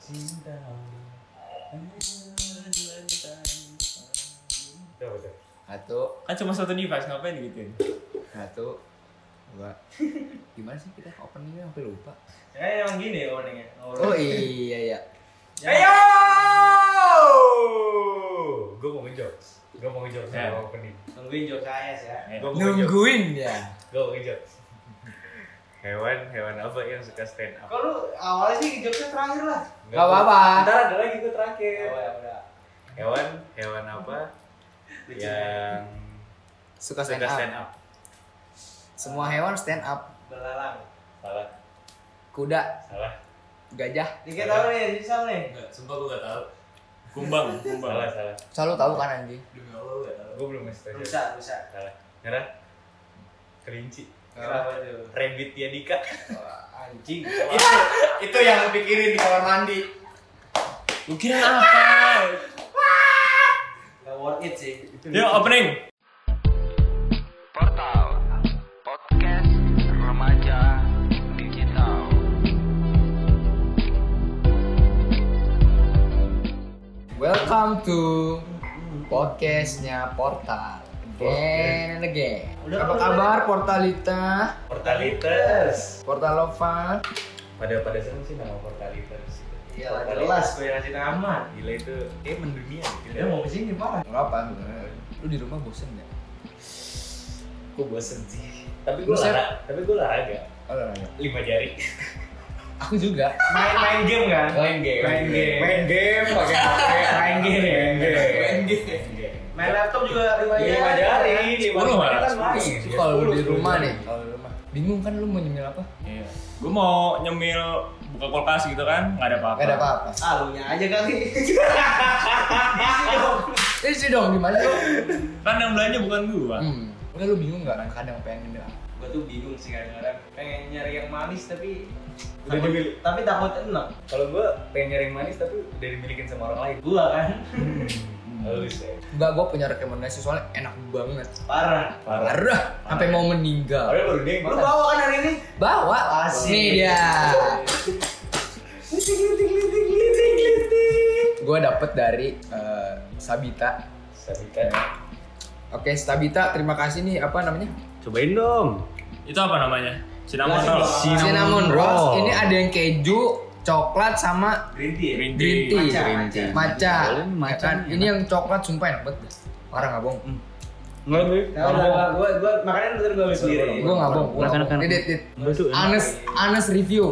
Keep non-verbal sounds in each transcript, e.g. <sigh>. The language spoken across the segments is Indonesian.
cinta Coba tuh. satu kan cuma satu device ngapain gitu satu dua gimana sih kita openingnya sampai lupa Ya kan emang gini ya openingnya. oh iya ya Ayo! Gue mau ngejokes. Gue mau ngejokes Ya. sama opening. Tungguin jok saya ya. Gue mau ngejokes. nungguin ya Gue mau ngejokes. Hewan, hewan apa yang suka stand up? Kok lu awalnya sih joknya terakhir lah. nggak apa apa Ntar ada lagi gue terakhir. Oh ya udah. Hewan, hewan apa Iya. yang suka stand suka stand up up? semua hewan stand up Belalang. Salah, kuda salah, gajah Dikit tahu nih, Jisam nih. enggak sumpah gue gak tahu kumbang kumbang salah, salah. selalu tahu kan anjing demi allah gue gak tahu Gue belum ngasih tahu. Rusak, rusak. Salah. Merah, kelinci. Kenapa tuh? Rabbit ya Dika. Wah, Anjing. itu yang pikirin di kamar mandi gue kira apa Gak worth it sih. yuk opening Portal Podcast Remaja Digital welcome to podcastnya portal again and again Udah, apa udah, kabar udah. portalita Portalitas. portalova Pada pada seneng sih nama portalitas. Iya lah, jelas gue yang ngasih nama. Gila itu, eh mendunia. gitu. Iya, Dia mau kesini parah. nggak apa lu di rumah bosen nggak gue bosen sih tapi Lu, gue Sep? lara tapi gue olahraga olahraga lima jari aku juga Main-main game kan? main game Main game. main game pakai HP Main game. main game Iya, Main Main laptop juga Iya, lima jari. lima jari lima Sepuluh jari malah, kan main Terus kalau lu di rumah nih Iya, kalau di rumah bingung kan lu mau nyemil apa Iya. Gue mau nyemil buka kulkas gitu kan, nggak ada apa-apa. nggak ada apa-apa Ah, lu nya aja <laughs> kali. isi eh, dong gimana lu Kan yang belanja bukan gua. hmm udah lu bingung nggak kadang pengen nyemil apa? gue tuh bingung sih kadang-kadang pengen nyari yang manis tapi udah takut, dimiliki tapi takut enak kalau gue pengen nyari yang manis tapi udah dimilikin sama orang lain gua kan halus ya Enggak, gua punya rekomendasi soalnya enak banget. parah parah Parah, sampai mau meninggal. Padahal baru dia yang lu makan bawa kan hari ini Bawa Asik. nih dia. Gua dapet dari eh, Sabita. Sabita Oke, Sabita, terima kasih nih apa namanya? cobain dong Itu apa namanya? Cinnamon Nasi roll. bakar. Cinnamon Cinnamon roll. rolls. Ini ada yang keju, coklat sama green tea ya? Green green tea. Matcha, matcha. Maca. Boleh nih, maca Kan, nih, Ini yang coklat sumpah enak banget. Parah nggak bohong. nggak lebih Nah, udah, udah, gua, gua, makanya ntar gua ambil sendiri Gue nggak bohong. gua nggak Makan, bohong. makan. Dit, dit. Betul. Honest, honest review.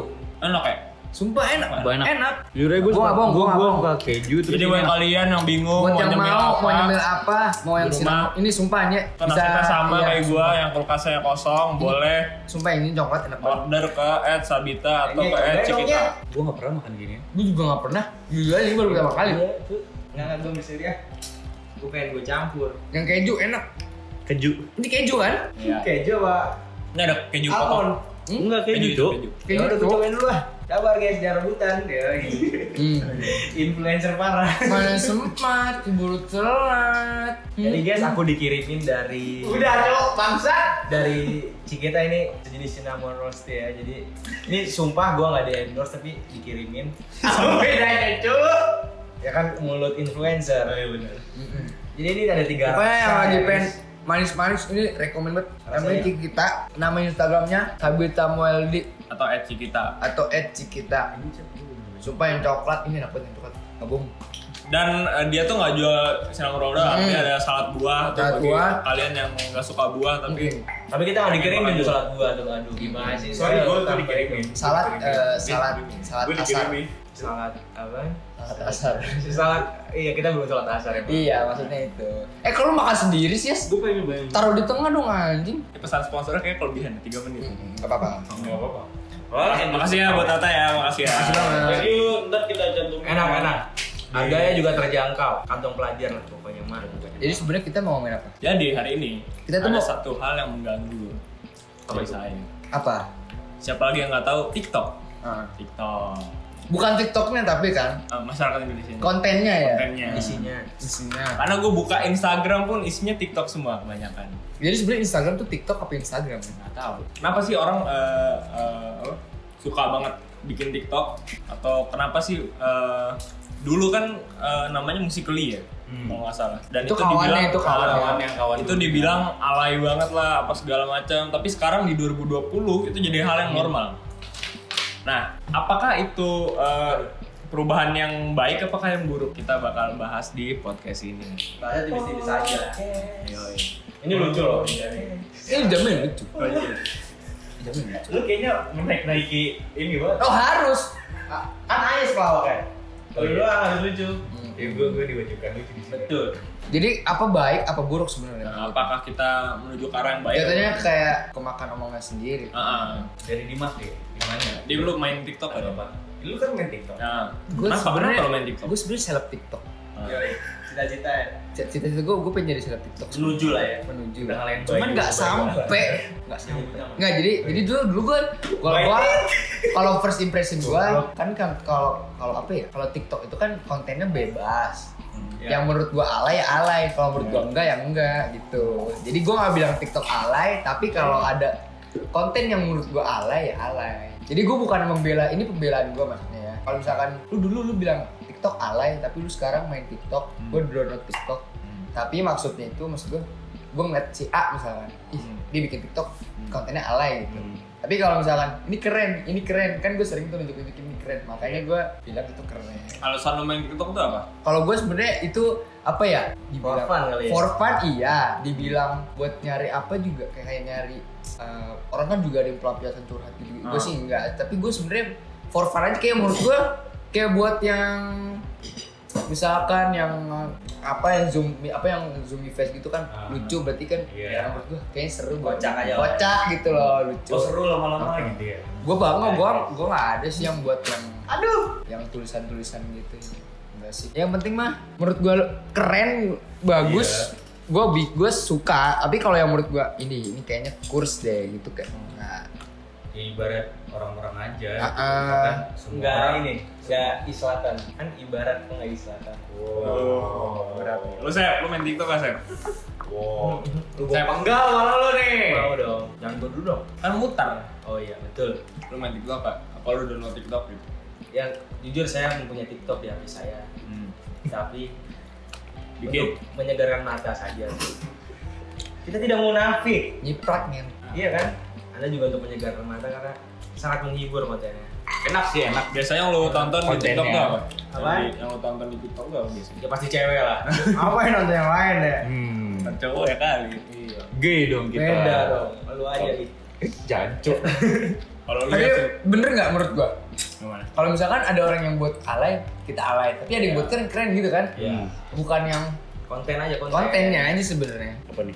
Enak ya? Sumpah enak. Gua enak. Jujur Gua gue nggak bohong, gua nggak bohong. suka keju terus Jadi ini buat kalian yang bingung Buat mau yang nyemil mau, apa, mau nyemil apa, mau yang Di sinar. rumah. Ini sumpahnya karena kita sama iya, Hmm. kayak gua yang kulkasnya kosong, boleh Sumpah ini coklat enak banget. order ke Ed Sabita atau Iya, Ini ke Ed cobain dong, Cikita. ya. gue nggak pernah makan gini Gue juga nggak pernah. Jujur aja ini baru pertama kali. Iya, nggak nggak gua ambil sendiri ya gua pengen gua campur Yang keju enak. keju Ini keju kan? Iya. keju apa? Ini ada keju potong. almond enggak keju cok Keju ya udah gua tuh. cobain dulu lah sabar guys jangan rebutan <laughs> Yoi. Hmm. influencer parah Mana sempat keburu telat. jadi guys aku dikirimin dari Udah, cok bangsa dari Cikita ini sejenis cinnamon rolls tuh ya jadi ini sumpah gua nggak di endorse tapi dikirimin <laughs> apa bedanya cuy ya kan mulut influencer iya benar jadi ini ada tiga Pokoknya yang rasa, lagi Ya, guys. pengen manis-manis ini rekomend banget. Namanya Rasanya. Cikita, nama Instagramnya Sabita Mueldi atau Ed Cikita. atau @cikita. Sumpah yang coklat ini enak banget yang coklat. Nggak bohong. Dan eh, dia tuh nggak jual cinnamon roll doang, Hmm. dia ada salad buah atau Salad bagi buah. Hmm. kalian yang nggak suka buah tapi Mungkin. tapi kita nggak dikirimin tuh salat gua tuh aduh gimana sih sorry gue tuh Tambah- dikirimin Salad, eh, salad, salad gue asar. dikirimin salat apa Salad asar. salat iya kita belum salat asar ya Pak. Iya, maksudnya itu. Eh, kalau lu makan sendiri sih, Yes? gue pengen nyobain Taruh di tengah dong anjing. Ini pesan sponsornya kayak kelebihan 3 menit. Enggak apa-apa. nggak apa-apa Makasih- Makasih ya buat Tata ya, makasih ya. jadi lu ntar kita cantum enak enak harganya juga terjangkau kantong pelajar lah pokoknya gitu kan. mah Jadi sebenarnya kita mau ngomongin apa? Jadi hari ini Kita tuh ada mau- satu hal yang mengganggu Apa diri saya. Apa? Siapa lagi yang nggak tahu TikTok? TikTok Ah. Bukan TikToknya tapi kan Eh, masyarakat Indonesia. ini. kontennya ya. Kontennya. isinya Isinya. Karena gue buka Instagram pun isinya TikTok semua kebanyakan. Jadi sebenarnya Instagram tuh TikTok apa Instagram? Nggak tahu. Kenapa sih orang eh, eh, apa? suka banget bikin TikTok atau kenapa sih eh, dulu kan eh, namanya musikly ya kalau nggak salah dan Itu itu, kawannya, dibilang itu kawan. kawan, yang Hmm. kawan itu dulu. ya. dibilang alay banget lah apa segala macam tapi sekarang di 2020 itu jadi hal yang normal nah apakah itu eh, perubahan yang baik apakah yang buruk kita bakal bahas di podcast ini Bahasa tipis-tipis aja. Ini lucu loh. Iya. Ini Iya, jamin lucu. Oh, Jamin lucu. Lu kayaknya menaik-naiki ini banget. Oh harus. Ah, Kan ayes pelawak kan. Kalau dulu harus lucu. Ya gue gue diwajibkan lucu di sini. Betul. Jadi apa baik apa buruk sebenarnya? Nah, apakah kita menuju ke arah yang baik Jatuhnya kayak kemakan omongan sendiri. Ah, ah. Dari Dimas deh. Dimana? dia belum main TikTok kan? Apa? Lu kan main TikTok. Nah, Gue kenapa kenapa lo sebenarnya main TikTok? gue sebenarnya seleb TikTok. Yoi, Iya, Cita-cita ya. Cita-cita gue gue pengen jadi seleb TikTok. Menuju lah ya. Menuju. Udah hal yang baik, Cuman nggak itu baik sampai. Nggak sampai. Nggak jadi jadi dulu dulu gue kalau Baik. gue kalau first impression gue kan kan kalau kalau apa ya kalau TikTok itu kan kontennya bebas. Ya. Yang menurut gua alay ya alay, kalau menurut gua enggak ya enggak gitu. Jadi gua nggak bilang TikTok alay, tapi kalau ada konten yang menurut gua alay ya alay. Jadi gua bukan membela, ini pembelaan gua maksudnya ya. Kalau misalkan lu dulu lu bilang TikTok alay, tapi lu sekarang main TikTok, gua download TikTok. Tapi maksudnya itu maksud gua gua ngeliat si A misalkan, ih dia bikin TikTok kontennya alay gitu. Tapi kalau misalkan ini keren, ini keren, kan gue sering tuh nunjuk-nunjukin ini keren, makanya gua bilang itu keren Alasan lo main TikTok tuh apa? kalau gue sebenarnya itu apa ya For dibilang fun kali ya. for fun iya dibilang buat nyari apa juga kayak kayak nyari eh, orang kan juga ada yang pelampiasan curhat gitu gue Ah. sih enggak tapi gue sebenarnya for fun aja kayak menurut gue kayak buat yang misalkan yang apa yang zoom apa yang zoom fest gitu kan Ah. lucu berarti kan Iya. ya, menurut gue kayaknya seru buat- Kocak aja lah. kocak gitu loh lucu Oh seru lama-lama gitu ya. gue bangga gue gue nggak ada sih yang buat yang aduh yang tulisan tulisan gitu enggak sih yang penting mah menurut gue keren Iya. bagus gue gue suka tapi kalau yang menurut gue ini ini kayaknya kurs deh gitu kayak nah, Ya ibarat orang-orang aja. Ah, gitu. ah. Kan semua Enggak orang- ini. Ya islatan. Kan ibarat enggak islatan. Wow. Lo Sep, lo main TikTok gak Sep? Wow. Sep, Enggak malah lo nih. Mau dong. Eh. Jangan gua dulu dong. kan mutar Oh iya, betul. Lo main TikTok apa? Apa lo download TikTok gitu? Ya jujur saya mempunyai TikTok di HP saya. Tapi Dikit untuk menyegarkan mata saja. Kita tidak mau nafik. nyiprat men Iya kan? Anda juga untuk menyegarkan mata karena sangat menghibur kontennya. Enak sih enak. Nah, Biasanya yang lo tonton di Kontennya. TikTok tuh apa? Apa? Yang di- Yang lo tonton di TikTok tuh apa biasanya? Ya pasti cewek lah. Nah. Apa yang nonton yang lain ya? Hmm. Nonton Cowok ya kali Iya. Gay dong kita. gitu. Beda Iya dong. Lu aja Iya. nih. Jancuk. Kalau lo tapi lihat bener nggak menurut gue gimana? kalau misalkan ada orang yang buat alay kita alay tapi ada yang buat keren keren gitu kan Iya. bukan yang Konten aja konten. kontennya aja sebenarnya Apa nih?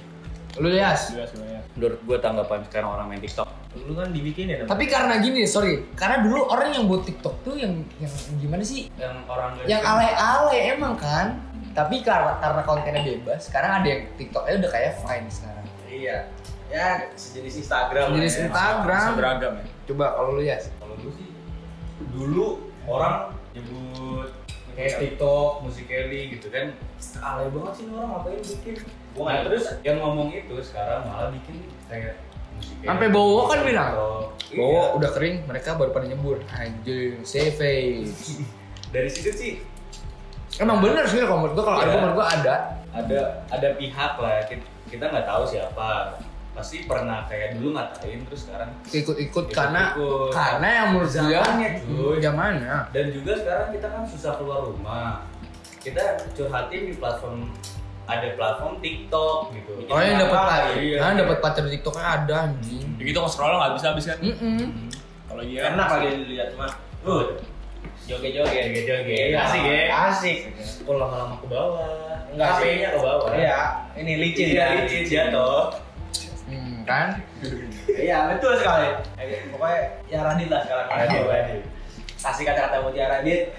lu lihat Jelas banyak Menurut gua tanggapan sekarang orang main TikTok. Lu kan dibikinin sama tapi karena gini sorry karena dulu orang yang buat TikTok tuh yang yang gimana sih yang orang yang kan? alay-alay emang kan tapi karena karena kontennya bebas sekarang ada yang TikToknya udah kayak Vine sekarang Iya. Ya sejenis Instagram. Sejenis Iya. lah ya. Instagram Beragam ya? coba kalau lu lihat Kalau gue sih dulu orang nyebut kayak TikTok, musikeli gitu kan alay banget sih ini orang ngapain bikin gua nggak- terus yang ngomong itu sekarang malah bikin kayak musikeli Sampai Bowo kan bilang. TikTok. Iya. oh udah kering mereka baru pada nyebur anjir save dari situ sih emang bener sih kalau menurut gua kalau ada Iya. menurut gua ada ada ada pihak lah kit- kita nggak tahu siapa pasti pernah kayak dulu ngatain terus sekarang ikut-ikut Ikut-ikut. karena karena yang menurut dia Zamannya, cuy. zamannya dan juga sekarang kita kan susah keluar rumah kita curhatin di platform ada platform TikTok gitu Oh. orang yang dapat Kenapa? pacar Iya. kan dapat pacar di TikTok ada anjing Ya gitu kalau scroll nggak bisa habis kan? Mm-mm. Kalau dia kan Enak kali dilihat cuma Uh, joget-joget, Iya. joget-joget. Asik ya. Asik. Kalau lama-lama ke bawah. Ah. Enggak sih. HP-nya ke bawah. Iya, ini licin ya. Iya, licin jatuh. Hmm, kan Iya, betul sekali. Iya. Eh, Pokoknya ya Radit lah sekarang. Aduh, aduh. Kasih kata-kata mutiara Radit.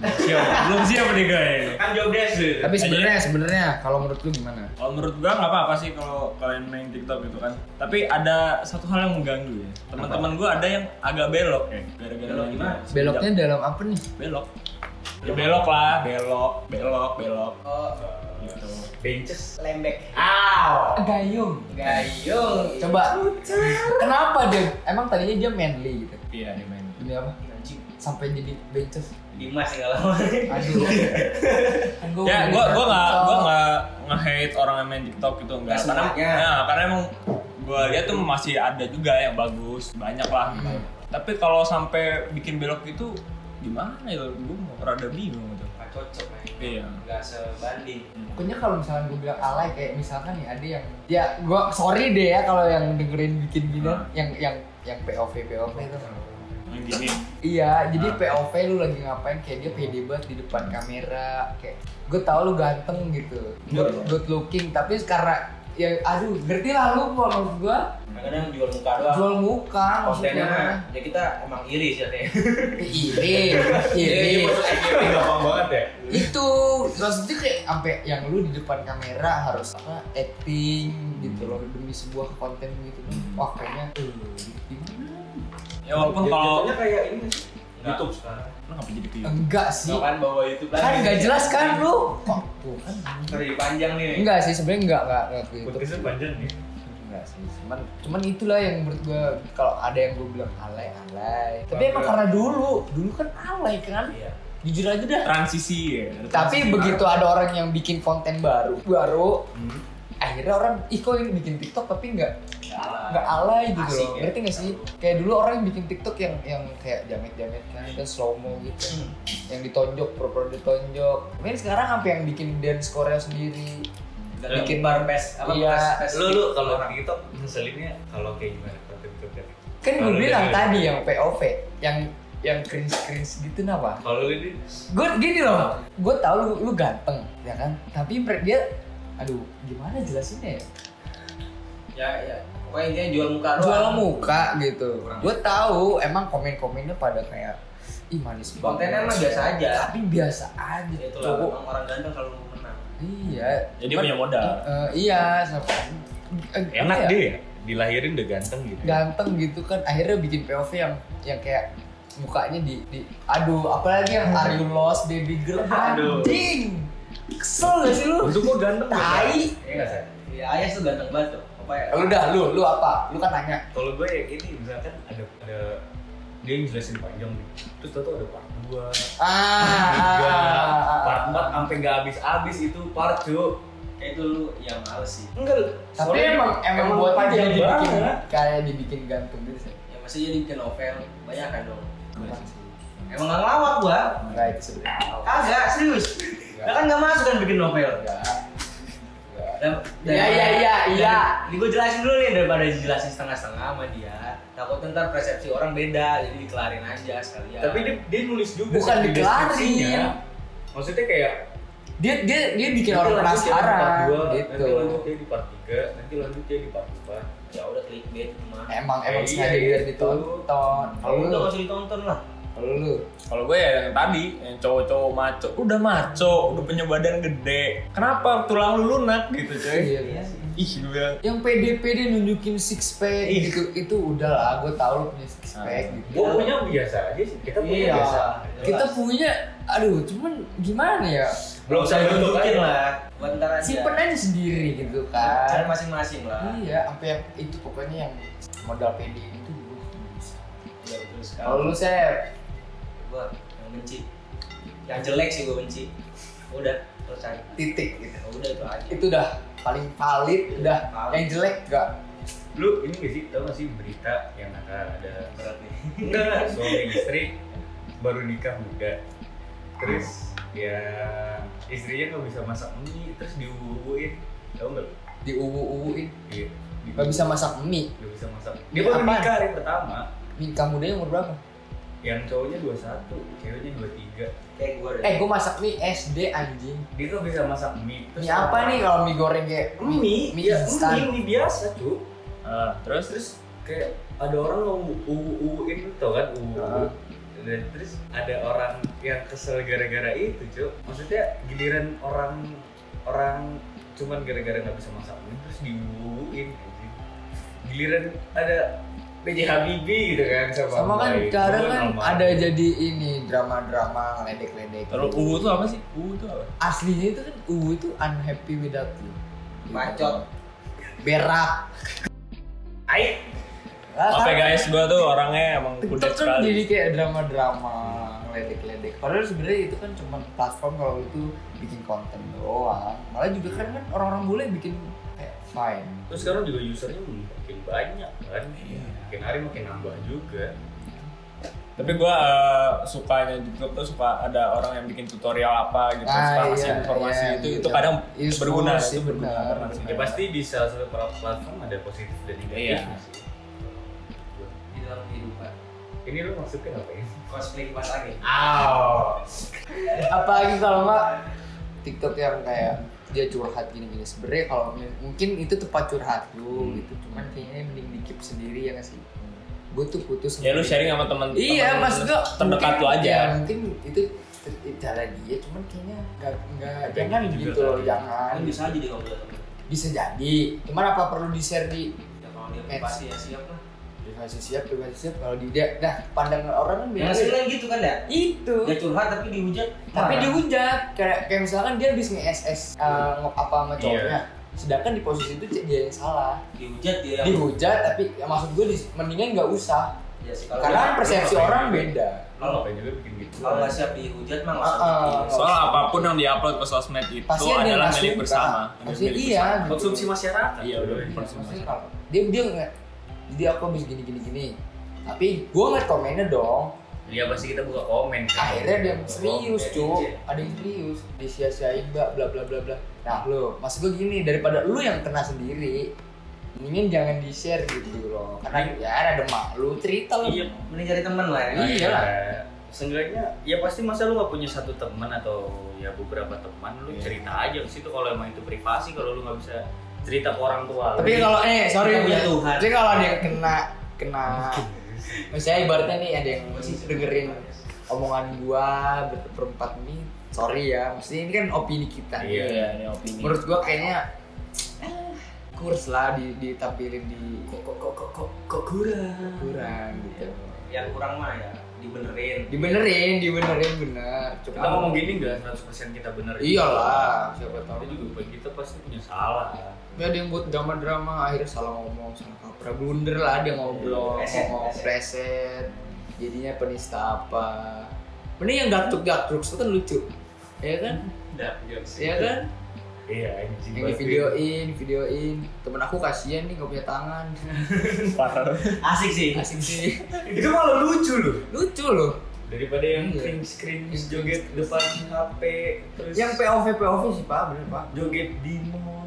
siap, belum siap nih guys Kan job desk. tapi sebenarnya sebenarnya kalau menurut lu gimana Kalau menurut gua nggak apa-apa sih kalau kalian main TikTok gitu kan. Tapi ada satu hal yang mengganggu ya. Teman-teman gua ada yang agak belok ya. Gara-gara Belok main gimana? TikTok. beloknya dalam apa nih belok. Ya belok lah, belok, belok, belok Oh, gitu. Benches. lembek. Ow. gayung Gayung. Coba. Kenapa dia? Emang tadinya dia manly gitu. Iya, dia main. demi apa anjing sampai jadi benches Dimas nggak lama aduh kan gua ya mau gue gue nggak TikTok. gue nggak nge-hate orang yang main TikTok gitu enggak karena semuanya. ya, karena emang gue lihat tuh masih ada juga yang bagus banyak lah gitu. Hmm. tapi kalau sampai bikin belok itu gimana ya gue rada bingung gitu nggak cocok nih iya nggak sebanding Pokoknya kalau misalkan gue bilang alay kayak misalkan nih ada yang ya gua sorry deh ya kalau yang dengerin bikin gini yang yang yang POV POV itu. yang gini Iya, jadi POV lu lagi ngapain kayak dia pede banget di depan kamera kayak gue tau lu ganteng gitu. Iya, Good, good looking tapi karena ya aduh ngerti lah lu kok maksud gua kadang jual muka doang jual muka maksudnya Iya, kontennya mah Iya, ya kita emang iri sih <laughs> katanya <laughs> iri iri Iya, maksud IGP gampang banget ya itu maksudnya kayak sampai yang lu di depan kamera harus apa acting gitu loh demi sebuah konten gitu kan Hmm. wah kayaknya eh, gimana? ya walaupun kalau Jatuhnya kayak ini nggak sih? Nggak. YouTube sekarang kenapa jadi kayak enggak sih Tuh kan bawa YouTube lagi kan nggak jelas kan lu kok tuh kan Sorry, panjang nih enggak sih sebenarnya enggak enggak enggak gitu podcastnya panjang nih enggak sih cuman cuman itulah yang menurut gua kalau ada yang gua bilang alay alay tapi Bangga. emang karena dulu dulu kan alay kan Iya. jujur aja dah transisi ya ada tapi transisi. begitu ada orang yang bikin konten baru baru Hmm. akhirnya orang ih kok ini bikin TikTok tapi nggak nggak alay gitu Asik loh ya. ngerti nggak sih kayak dulu orang yang bikin TikTok yang yang kayak jamet jamet dan slow mo gitu Hmm. yang ditonjok pro pro ditonjok mungkin sekarang sampai yang bikin dance Korea sendiri bikin bar pes apa Iya. pes- gitu. pes Eh, lu lu kalau orang TikTok ngeselinnya kalau kayak gimana konten konten kan gue Kalau bilang dia- tadi yang POV yang yang cringe cringe gitu kenapa kalau lu ini gue gini loh gue tau lu lu ganteng ya kan tapi mer- dia aduh gimana jelasinnya ya ya ya pokoknya intinya jual muka doang jual muka gitu. Kurang. Gue tahu emang komen-komennya pada kayak ih manis banget. kontennya mah biasa aja Tapi biasa aja. Ya itulah Cowok. emang orang ganteng kalau menang Ya Iya. jadi Cuman, punya modal eh, iya, sama. eh, Enak iya, deh ya, dilahirin udah ganteng gitu. Ganteng gitu kan akhirnya bikin POV yang yang kayak mukanya di, di aduh apalagi yang are you lost baby girl Aduh. anjing kesel gak sih lu Untuk gua ganteng. tai Iya nggak sih? Ya Ayas tuh ganteng banget tuh. Apa ya? lu dah lu lu apa lu kan nanya kalau gue ya ini misalkan ada ada dia yang jelasin panjang nih terus tau ada part 2 ah, tiga ah, ah, part ah. 4 sampai nggak habis habis itu part 2 Kayak itu lu yang males sih. enggak lu. Tapi Soalnya emang emang buat panjang kayak dibikin banget kayak dibikin gantung gitu sih. Ya masih jadi bikin novel banyak kan dong. Emang nggak ngelawak gua. Enggak itu sebenarnya. Kagak serius. Iya. Nah kan nggak masuk kan bikin novel. Dan- dan- Iya, iya, iya, dan- iya. Ini gua jelasin dulu nih daripada dijelasin setengah-setengah sama dia. Takut ntar persepsi orang beda, jadi dikelarin aja sekalian. tapi dia, dia nulis juga Bukan sih di dikelarin. deskripsinya. maksudnya kayak Dia dia dia bikin nanti orang lanjut ya di penasaran part 2, gitu. nanti lanjutnya di part 3 nanti lanjutnya di part 4 ya udah clickbait cuma. Emang emang Iya, sengaja iya, biar itu. ditonton. Kalau Kalau Eh, udah lu, nggak usah ditonton lah. kalau lu. Kalau gue ya yang tadi, yang cowok-cowok maco, udah maco, udah punya badan gede. Kenapa tulang lu lunak gitu cuy? Iya. iya sih. Ih, gue bilang. Yang pede-pede nunjukin six pack Ih. gitu itu udah lah, gue tau lu punya six pack gitu. gue punya biasa aja sih kita punya Iya. biasa Kita punya, aduh cuman gimana ya? belum saya saya tunjukin tunjukin lah buat ntar aja Simpen aja sendiri gitu kan. cara masing-masing lah Iya, sampai yang itu pokoknya yang modal pede itu gue nggak bisa. iya betul sekali Kalau lu Sep, gue yang benci yang jelek sih gue benci udah selesai titik gitu. Ya udah itu aja Itu udah paling valid, udah Valid. yang jelek enggak. lu ini gak sih tau gak sih berita yang ada ada berat nih enggak enggak suami istri baru nikah muda terus ya istrinya nggak bisa masak mie terus diubuin tau nggak lu? Diuwu-uwuin, Iya. Di- nggak bisa masak mie. nggak bisa masak Mie dia baru apaan? nikah hari pertama Mie kamu deh umur berapa? yang cowoknya 21, ceweknya 23 <laughs> kayak gue deh Eh, gua masak mie SD anjing. dia nggak bisa masak mie terus Mie apa nih kalau mie goreng kayak mie Mie mie, ya, instan. mie, mie biasa cuy Eh, Ah, terus terus kayak ada orang mau uuin tau kan uu Heeh. dan terus ada orang yang kesel gara-gara itu cuy maksudnya giliran orang orang cuman gara-gara nggak bisa masak mie terus diuuin anjing. giliran ada PJ Habibie gitu kan sama sama kan Mbak Itu, kadang kan sama- ada jadi ini drama-drama ledek-ledek. kalau uwu tuh apa sih? Uwu tuh apa? Aslinya itu kan uwu itu unhappy without you. bacot Berak. Aik. Apa ya, guys, gua tuh orangnya emang kan TikTok kudet tuh jadi sekali. kayak drama-drama ledek-ledek. Padahal sebenarnya itu kan cuma platform kalau itu bikin konten doang. Malah juga kan kan orang-orang bule bikin kayak fine. Terus sekarang juga usernya makin banyak kan. Iya. Makin hari makin nambah juga. Tapi gua eh, sukanya juga tuh suka ada orang yang bikin tutorial apa gitu, Ah, suka ngasih iya, informasi iya, itu iya. itu kadang Useful berguna, sih, itu berguna benar. karena Ya pasti di salah satu platform ada positif dan Iya. negatifnya sih. di dalam kehidupan Ini lu maksudnya apa ya? cosplay pas lagi Aw. Apalagi kalau nggak TikTok yang kayak dia curhat gini-gini sebenarnya kalau mi- mungkin itu tempat curhat Hmm. lu gitu cuman kayaknya mending di keep sendiri ya nggak sih gue tuh putus Ya lu sharing sama teman Iya, teman mas gua terdekat mungkin- lu aja. Ya, mungkin itu ter- cara dia, cuman kayaknya nggak nggak jangan juga gitu loh, kali. jangan. kan bisa aja kalau udah temen Bisa jadi. Cuman apa perlu di share di ya kalau dia Meds. pasti ya siap lah privasi siap, privasi siap. Kalau di dia, dah pandangan orang kan beda. yang sering gitu kan ya Itu. dia curhat tapi dihujat Nah, Tapi marah. dihujat kayak kayak misalkan dia habis nge-SS eh, ngop apa Iya. sama cowoknya. Sedangkan di posisi itu dia yang salah. dihujat Iya. dia yang Dihujat tapi ya maksud gue di- mendingan nggak usah. ya sih kalau Karena nggak- persepsi ngapain orang juga? beda. Lo ngapain juga bikin gitu? Oh, kalau nggak siap dihujat mah nggak usah Ah, ah. dibikin. Soal apapun yang diupload ke sosmed itu Pasti ada yang adalah nggak milik suka. bersama. Ada Pasti milik iya. bersama. gitu. masyarakat. Iya, udah Iya, konsumsi. maksudnya kalau dia dia nggak jadi aku habis gini gini gini tapi gue ngeliat komennya dong Iya pasti kita buka komen. kan. akhirnya dia serius Komen, cu iya. ada yang serius disia-siain mbak bla bla bla bla nah lo maksud gue gini daripada lu yang kena sendiri mendingan jangan di share gitu loh karena ya ada mak lu cerita lu Iya. mending cari teman lah ya Iya. lah. Ya, Seenggaknya ya pasti masa lu gak punya satu teman atau ya beberapa teman lu cerita aja ke situ kalau emang itu privasi kalau lu nggak bisa cerita ke orang tua. lu. tapi kalau eh sorry Kita punya Tuhan. tapi kalau ada yang kena kena misalnya ibaratnya nih ada yang dengerin omongan gua ber- berempat ini sorry ya maksudnya ini kan opini kita nih. Iya, iya, ini opini. <laughs> menurut gua kayaknya eh, kurs lah di, ditampilin di kok kok kok kok kok- kok kurang kurang gitu yang kurang mah ya dibenerin dibenerin dibenerin bener kita ngomong gini nggak 100% kita bener. gitu. iyalah siapa Tapi tahu juga kita pasti punya salah. ya dia yang buat drama drama akhirnya salah ngomong salah kaprah blunder lah dia ngobrol Pleset, ngomong pleset. preset jadinya penista apa mending yang gatruk gatruk itu kan lucu ya kan Dah, ya kan Iya, anjing. yang di videoin videoin temen aku kasihan nih gak punya tangan Iya. asik sih asik sih Itu malah lucu loh. lucu loh Daripada yang Iya. cringe cringe joget depan HP terus yang POV POV sih pak bener pak joget di mall.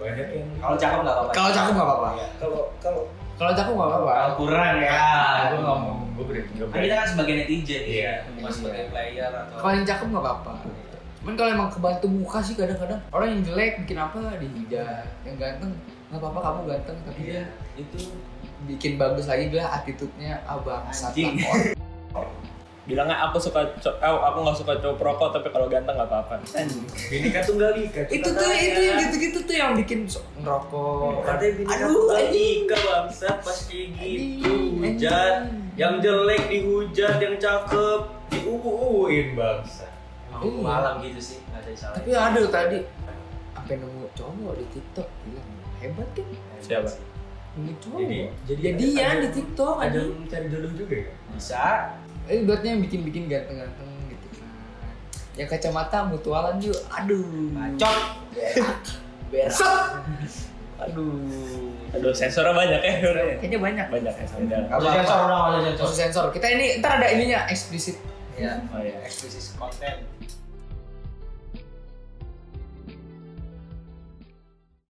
Banyak yang kalau cakep nggak apa-apa Kalau cakep nggak apa-apa. kalau kalau Kalau cakep nggak apa-apa. kalau kurang ya Ah. gue nggak mau gue berani nggak kan kita kan sebagai netizen Iya. ya bukan sebagai player atau Kalau yang cakep nggak apa-apa. Cuman kalau emang kebantu muka sih kadang-kadang orang yang jelek bikin apa dihujat, yang ganteng nggak apa-apa kamu ganteng tapi iya dia itu bikin bagus lagi dia attitude-nya abang Anjing. <laughs> Bilangnya aku suka co- eh, aku nggak suka cowok perokok tapi kalau ganteng nggak apa-apa. Binika tunggal ika. itu tuh itu yang gitu-gitu tuh yang bikin so- ngerokok. Oh, Katanya binika Aduh, tunggal anjing. ika bangsa pas kayak gitu Anjing, Ya. hujat. anjing. Yang jelek dihujat, yang cakep diuuin bangsa. mau Iya. malam gitu sih nggak ada salah Tapi ada loh tadi sampai nemu cowok di TikTok bilang hebat kan Siapa? nemu cowok. Oh, Jadi, Jadi- jadi jadian ada- di TikTok Ada anjing. yang cari jodoh juga ya? bisa Eh, ibaratnya yang bikin-bikin ganteng-ganteng gitu kan. Yang kacamata mutualan juga, aduh. bacot Berat. Aduh, sensornya banyak ya. Kayaknya banyak. Banyak ya, sensornya. Masuk sensor udah masuk sensor Khusus sensor. Kita ini ntar ada ininya eksplisit. ya Oh iya. eksplisit konten